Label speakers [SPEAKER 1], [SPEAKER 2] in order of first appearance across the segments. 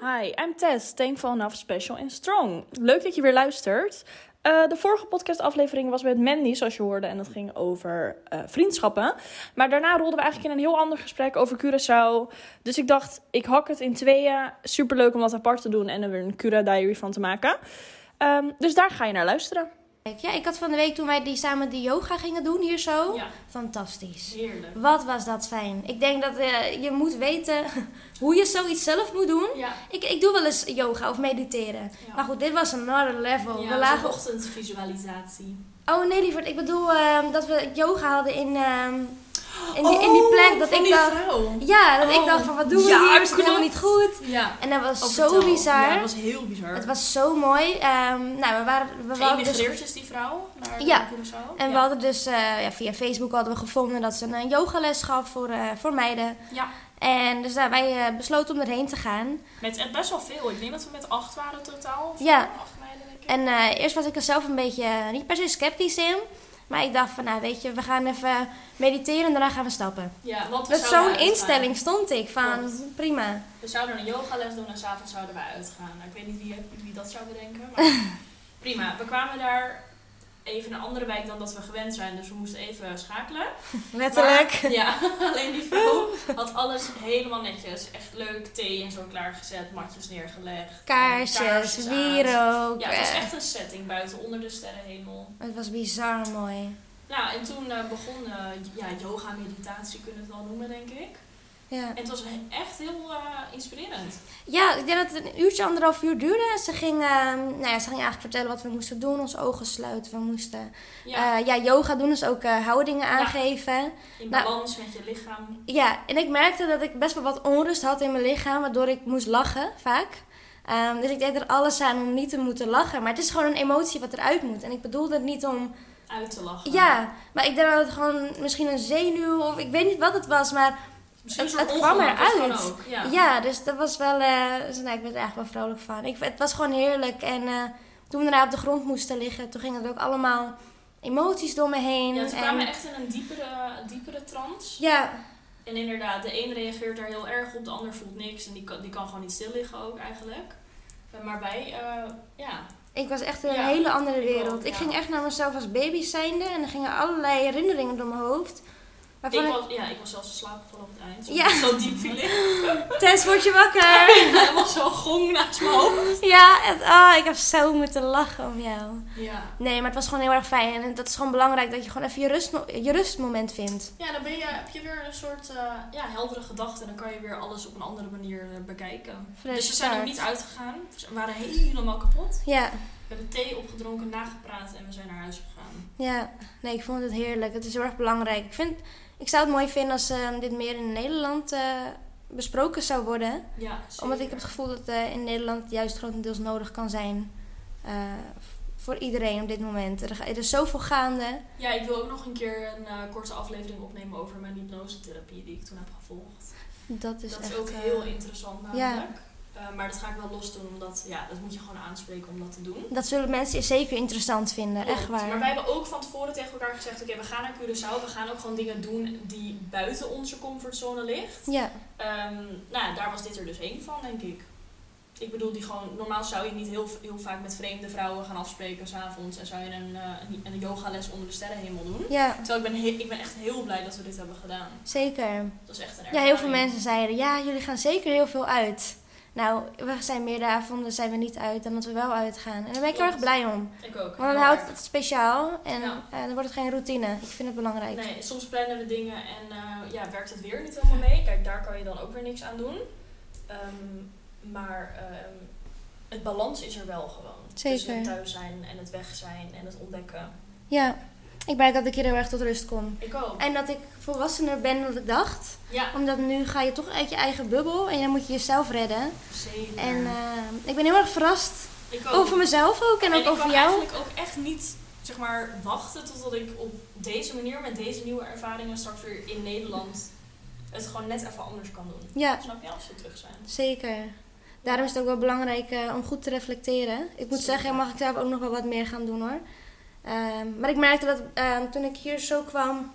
[SPEAKER 1] Hi, I'm Tess, thankful enough, special and strong. Leuk dat je weer luistert. Eh, de vorige podcastaflevering was met Mandy, zoals je hoorde, en dat ging over eh, vriendschappen. Maar daarna rolden we eigenlijk in een heel ander gesprek over Curaçao. Dus ik dacht, ik hak het in tweeën. Superleuk om dat apart te doen en er weer een Cura Diary van te maken. Ehm, dus daar ga je naar luisteren.
[SPEAKER 2] Kijk, Ja, ik had van de week toen wij die samen die yoga gingen doen hier zo.
[SPEAKER 1] Ja.
[SPEAKER 2] Fantastisch.
[SPEAKER 1] Heerlijk.
[SPEAKER 2] Wat was dat fijn. Ik denk dat eh, je moet weten hoe je zoiets zelf moet doen.
[SPEAKER 1] Ja,
[SPEAKER 2] Ik, ik doe wel eens yoga of mediteren.
[SPEAKER 1] Ja.
[SPEAKER 2] Maar goed, dit was another level. Oh, we lagen...
[SPEAKER 1] ochtendvisualisatie.
[SPEAKER 2] Oh nee, lieverd. Ik bedoel ehm, dat we yoga hadden in, ehm, in, die, in die plek. Dat ik dacht... Ja, dat ik
[SPEAKER 1] Oh.
[SPEAKER 2] dacht van wat doen we
[SPEAKER 1] Ja,
[SPEAKER 2] hier? Is het helemaal
[SPEAKER 1] klopt.
[SPEAKER 2] niet goed?
[SPEAKER 1] Ja.
[SPEAKER 2] En dat was zo bizar.
[SPEAKER 1] was heel bizar.
[SPEAKER 2] Het was zo mooi. Ehm, nou, we waren... We waren dus
[SPEAKER 1] is die vrouw naar
[SPEAKER 2] Ja.
[SPEAKER 1] Curaçao.
[SPEAKER 2] En we hadden dus eh, ja, via Facebook hadden we gevonden dat ze een eh, yogales gaf voor, eh, voor meiden.
[SPEAKER 3] Ja.
[SPEAKER 2] En dus daar, wij eh, besloten om erheen te gaan.
[SPEAKER 3] Met eh, best wel veel. Ik denk dat we met acht waren totaal. Of
[SPEAKER 2] Ja.
[SPEAKER 3] Acht meiden, denk ik.
[SPEAKER 2] En eh, eerst was ik er zelf een beetje eh, niet per se sceptisch in. Maar ik dacht van, nou weet je, we gaan even mediteren en daarna gaan we stappen.
[SPEAKER 3] ja, want we
[SPEAKER 2] Met
[SPEAKER 3] zouden
[SPEAKER 2] zo'n
[SPEAKER 3] uitgaan.
[SPEAKER 2] instelling stond ik van, prima.
[SPEAKER 3] We zouden een yogales doen en s'avonds zouden we uitgaan. Nou, ik weet niet wie, wie dat zou bedenken. Maar prima. We kwamen daar even een andere wijk dan dat we gewend zijn. Dus we moesten even schakelen.
[SPEAKER 2] Letterlijk.
[SPEAKER 3] Maar- ja, alleen die vrouw had alles helemaal netjes. Echt leuk. Thee en zo klaargezet. Matjes neergelegd.
[SPEAKER 2] Kaarsjes,
[SPEAKER 3] aan.
[SPEAKER 2] wierook.
[SPEAKER 3] Ja, het was
[SPEAKER 2] eh,
[SPEAKER 3] echt een setting buiten onder de sterrenhemel.
[SPEAKER 2] het was bizar mooi.
[SPEAKER 3] Nou, en toen eh, begon eh, ja, yoga, meditatie kunnen we het wel noemen, denk ik.
[SPEAKER 2] Ja.
[SPEAKER 3] En het was he- echt heel eh, inspirerend.
[SPEAKER 2] Ja, ik denk dat het een uurtje, anderhalf uur duurde. Ze ging, ehm, nou ja, ze ging eigenlijk vertellen wat we moesten doen. Onze ogen sluiten. We moesten
[SPEAKER 3] Ja,
[SPEAKER 2] ja, ja yoga doen, dus ook eh, houdingen aangeven.
[SPEAKER 3] in
[SPEAKER 2] nou-
[SPEAKER 3] balans met je lichaam.
[SPEAKER 2] Ja, en ik merkte dat ik best wel wat onrust had in mijn lichaam, waardoor ik moest lachen vaak. Ehm, dus ik deed er alles aan om niet te moeten lachen. Maar het is gewoon een emotie wat eruit moet. En ik bedoelde het niet om.
[SPEAKER 3] Uit te lachen.
[SPEAKER 2] Ja, maar ik denk dat het gewoon misschien een zenuw of ik weet niet wat het was. Maar
[SPEAKER 3] Misschien
[SPEAKER 2] het-
[SPEAKER 3] zo'n
[SPEAKER 2] het kwam
[SPEAKER 3] ongemak, dat
[SPEAKER 2] eruit.
[SPEAKER 3] kan ook, Ja.
[SPEAKER 2] Ja, dus dat was wel. eh, dus, nou, ik ben er eigenlijk wel vrolijk van. Ik, het was gewoon heerlijk. En eh, toen we daarna op de grond moesten liggen, toen gingen er ook allemaal emoties door me heen.
[SPEAKER 3] Ja, toen
[SPEAKER 2] en-
[SPEAKER 3] kwamen we echt in een diepere, diepere trance.
[SPEAKER 2] ja,
[SPEAKER 3] En inderdaad, de een reageert daar heel erg op, de ander voelt niks. En die kan, die kan gewoon niet stil liggen ook eigenlijk. Eh, Maar wij, eh, ja,
[SPEAKER 2] ik was echt in een
[SPEAKER 3] Ja,
[SPEAKER 2] hele andere
[SPEAKER 3] ik
[SPEAKER 2] wereld.
[SPEAKER 3] ook,
[SPEAKER 2] Ik
[SPEAKER 3] ja.
[SPEAKER 2] ging echt naar mezelf als baby zijnde en er gingen allerlei herinneringen door mijn hoofd.
[SPEAKER 3] ik,
[SPEAKER 2] Waarvan ik,
[SPEAKER 3] was, ja, ik was zelfs in slaap gevallen op het eind. Zo,
[SPEAKER 2] Ja.
[SPEAKER 3] zo diep viel ik.
[SPEAKER 2] Tess, word je wakker?
[SPEAKER 3] Er was zo'n gong naast mijn hoofd.
[SPEAKER 2] ja, het, ah, ik heb zo moeten lachen om jou.
[SPEAKER 3] Ja.
[SPEAKER 2] Nee, maar het was gewoon heel erg fijn. En dat is gewoon belangrijk dat je gewoon even je, rustmo- je rustmoment vindt.
[SPEAKER 3] Ja, dan ben je, heb je weer een soort eh, ja, heldere gedachte. En dan kan je weer alles op een andere manier eh, bekijken.
[SPEAKER 2] Fresh
[SPEAKER 3] dus we zijn er
[SPEAKER 2] start.
[SPEAKER 3] niet uitgegaan. We waren helemaal kapot.
[SPEAKER 2] Ja.
[SPEAKER 3] We hebben thee opgedronken, nagepraat en we zijn naar huis gegaan.
[SPEAKER 2] Ja, nee, ik vond het heerlijk. Het is heel erg belangrijk. Ik, vind, ik zou het mooi vinden als ehm, dit meer in Nederland eh, besproken zou worden.
[SPEAKER 3] Ja, zeker.
[SPEAKER 2] Omdat ik heb het gevoel dat eh, in Nederland het juist grotendeels nodig kan zijn eh, voor iedereen op dit moment. Er, ga- er is zoveel gaande.
[SPEAKER 3] Ja, ik wil ook nog een keer een eh, korte aflevering opnemen over mijn hypnosetherapie die ik toen heb gevolgd.
[SPEAKER 2] Dat is
[SPEAKER 3] dat
[SPEAKER 2] echt,
[SPEAKER 3] is ook
[SPEAKER 2] eh,
[SPEAKER 3] heel interessant
[SPEAKER 2] ja.
[SPEAKER 3] namelijk. Eh, maar dat ga ik wel los doen, omdat ja, dat moet je gewoon aanspreken om dat te doen.
[SPEAKER 2] Dat zullen mensen zeker interessant vinden, echt
[SPEAKER 3] Klopt. Maar
[SPEAKER 2] waar.
[SPEAKER 3] wij hebben ook van tevoren tegen elkaar gezegd: oké, we gaan naar Curaçao. We gaan ook gewoon dingen doen die buiten onze comfortzone ligt.
[SPEAKER 2] Ja,
[SPEAKER 3] Ehm, nou, ja, daar was dit er dus één van, denk ik. Ik bedoel, die gewoon, normaal zou je niet heel, heel vaak met vreemde vrouwen gaan afspreken s'avonds en zou je een, eh, een, een yogales onder de sterrenhemel doen.
[SPEAKER 2] ja,
[SPEAKER 3] Terwijl ik ben, he- ik ben echt heel blij dat we dit hebben gedaan.
[SPEAKER 2] zeker.
[SPEAKER 3] Dat was echt een
[SPEAKER 2] Ja,
[SPEAKER 3] ervaring.
[SPEAKER 2] heel veel mensen zeiden, ja, jullie gaan zeker heel veel uit. Nou, we zijn meerdere avonden zijn we niet uit dan dat we wel uitgaan. En daar ben ik heel erg
[SPEAKER 3] Klopt.
[SPEAKER 2] blij om.
[SPEAKER 3] Ik ook.
[SPEAKER 2] Want dan
[SPEAKER 3] heel
[SPEAKER 2] houdt
[SPEAKER 3] erg.
[SPEAKER 2] het speciaal en
[SPEAKER 3] Ja.
[SPEAKER 2] eh, dan wordt het geen routine. Ik vind het belangrijk.
[SPEAKER 3] Nee, soms plannen we dingen en eh, ja, werkt het weer niet helemaal mee. Kijk, daar kan je dan ook weer niks aan doen. Ehm, maar ehm, het balans is er wel gewoon. Tussen
[SPEAKER 2] Zeker.
[SPEAKER 3] het thuis zijn en het weg zijn en het ontdekken.
[SPEAKER 2] Ja, ik merk dat ik hier heel erg tot rust kom.
[SPEAKER 3] Ik ook.
[SPEAKER 2] En dat ik volwassener ben dan ik dacht.
[SPEAKER 3] Ja,
[SPEAKER 2] Omdat nu ga je toch uit je eigen bubbel en dan moet je jezelf redden.
[SPEAKER 3] zeker.
[SPEAKER 2] En eh, ik ben heel erg verrast
[SPEAKER 3] ik ook.
[SPEAKER 2] over mezelf ook en ook over
[SPEAKER 3] Oh. ik
[SPEAKER 2] jou.
[SPEAKER 3] kan eigenlijk ook echt niet zeg maar, wachten totdat ik op deze manier met deze nieuwe ervaringen straks weer in Nederland het gewoon net even anders kan doen.
[SPEAKER 2] Ja,
[SPEAKER 3] Snap je als we terug zijn?
[SPEAKER 2] zeker. Daarom is het ook wel belangrijk eh, om goed te reflecteren. Ik moet
[SPEAKER 3] Zeker.
[SPEAKER 2] zeggen, mag ik zelf ook nog wel wat meer gaan doen hoor. Ehm, maar ik merkte dat ehm, toen ik hier zo kwam,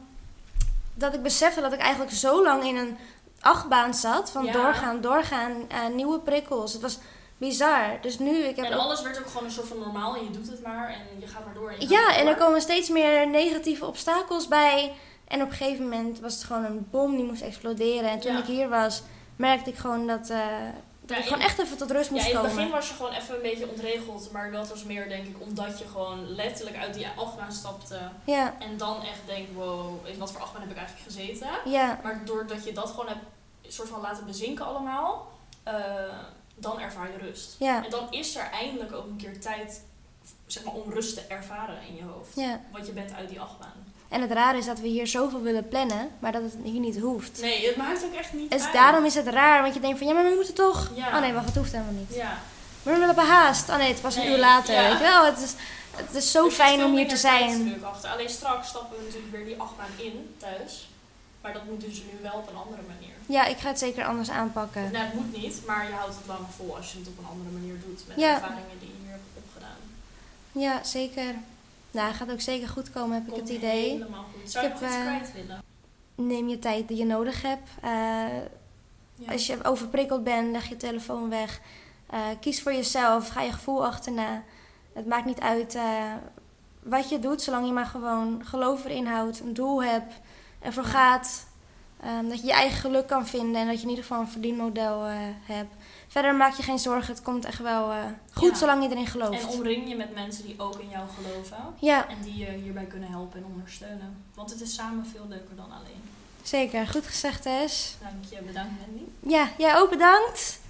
[SPEAKER 2] dat ik besefte dat ik eigenlijk zo lang in een achtbaan zat. Van
[SPEAKER 3] Ja.
[SPEAKER 2] doorgaan, doorgaan, eh, nieuwe prikkels. Het was bizar. Dus nu, ik heb
[SPEAKER 3] En
[SPEAKER 2] ook-
[SPEAKER 3] alles werd ook gewoon een soort van normaal en je doet het maar en je gaat maar door. En je gaat
[SPEAKER 2] Ja,
[SPEAKER 3] maar
[SPEAKER 2] en
[SPEAKER 3] door.
[SPEAKER 2] er komen steeds meer negatieve obstakels bij. En op een gegeven moment was het gewoon een bom die moest exploderen. En toen
[SPEAKER 3] Ja.
[SPEAKER 2] ik hier was, merkte ik gewoon dat, eh, dat
[SPEAKER 3] Ja,
[SPEAKER 2] ik gewoon
[SPEAKER 3] in-
[SPEAKER 2] echt even tot rust
[SPEAKER 3] Ja,
[SPEAKER 2] moest
[SPEAKER 3] in het
[SPEAKER 2] komen.
[SPEAKER 3] begin was je gewoon even een beetje ontregeld, maar dat was meer denk ik omdat je gewoon letterlijk uit die achtbaan stapte
[SPEAKER 2] Ja,
[SPEAKER 3] en dan echt denkt, wow, in wat voor achtbaan heb ik eigenlijk gezeten?
[SPEAKER 2] ja,
[SPEAKER 3] Maar doordat je dat gewoon hebt soort van laten bezinken allemaal, eh, dan ervaar je rust.
[SPEAKER 2] ja,
[SPEAKER 3] En dan is er eindelijk ook een keer tijd zeg maar, om rust te ervaren in je hoofd.
[SPEAKER 2] ja.
[SPEAKER 3] Want je bent uit die achtbaan.
[SPEAKER 2] En het rare is dat we hier zoveel willen plannen, maar dat het hier niet hoeft.
[SPEAKER 3] Nee, het maakt ook echt niet
[SPEAKER 2] Dus
[SPEAKER 3] uit.
[SPEAKER 2] daarom is het raar, want je denkt van ja, maar we moeten toch.
[SPEAKER 3] Ja.
[SPEAKER 2] Oh nee, wacht, het hoeft helemaal niet.
[SPEAKER 3] Ja.
[SPEAKER 2] Maar we hebben haast. Oh nee, het was een
[SPEAKER 3] Nee,
[SPEAKER 2] uur later.
[SPEAKER 3] ja.
[SPEAKER 2] Weet je wel, het is, het is zo
[SPEAKER 3] Er zit
[SPEAKER 2] fijn
[SPEAKER 3] veel
[SPEAKER 2] om hier
[SPEAKER 3] minder
[SPEAKER 2] te zijn.
[SPEAKER 3] tijdsdruk achter. Alleen straks stappen we natuurlijk weer die achtbaan in thuis. Maar dat moet dus nu wel op een andere manier.
[SPEAKER 2] Ja, ik ga het zeker anders aanpakken.
[SPEAKER 3] Nou, het moet niet, maar je houdt het langer vol als je het op een andere manier doet. Met
[SPEAKER 2] Ja.
[SPEAKER 3] de ervaringen die je hier hebt opgedaan.
[SPEAKER 2] Ja, zeker. Nou, gaat ook zeker goed komen, heb ik
[SPEAKER 3] Komt
[SPEAKER 2] het idee.
[SPEAKER 3] Helemaal goed. Zou je
[SPEAKER 2] Ik
[SPEAKER 3] nog
[SPEAKER 2] heb,
[SPEAKER 3] iets
[SPEAKER 2] eh,
[SPEAKER 3] kwijt willen?
[SPEAKER 2] Neem je tijd die je nodig hebt. Eh,
[SPEAKER 3] Ja.
[SPEAKER 2] als je overprikkeld bent, leg je telefoon weg. Eh, kies voor jezelf, ga je gevoel achterna. Het maakt niet uit eh, wat je doet, zolang je maar gewoon geloof erin houdt, een doel hebt, ervoor gaat. Ehm, dat je je eigen geluk kan vinden en dat je in ieder geval een verdienmodel eh, hebt. Verder maak je geen zorgen, het komt echt wel eh, goed
[SPEAKER 3] Ja.
[SPEAKER 2] zolang je erin gelooft.
[SPEAKER 3] En omring je met mensen die ook in jou geloven.
[SPEAKER 2] Ja,
[SPEAKER 3] En die je hierbij kunnen helpen en ondersteunen. Want het is samen veel leuker dan alleen.
[SPEAKER 2] zeker. Goed gezegd, Tess.
[SPEAKER 3] Dank je, bedankt Mandy.
[SPEAKER 2] Ja, jij ook bedankt.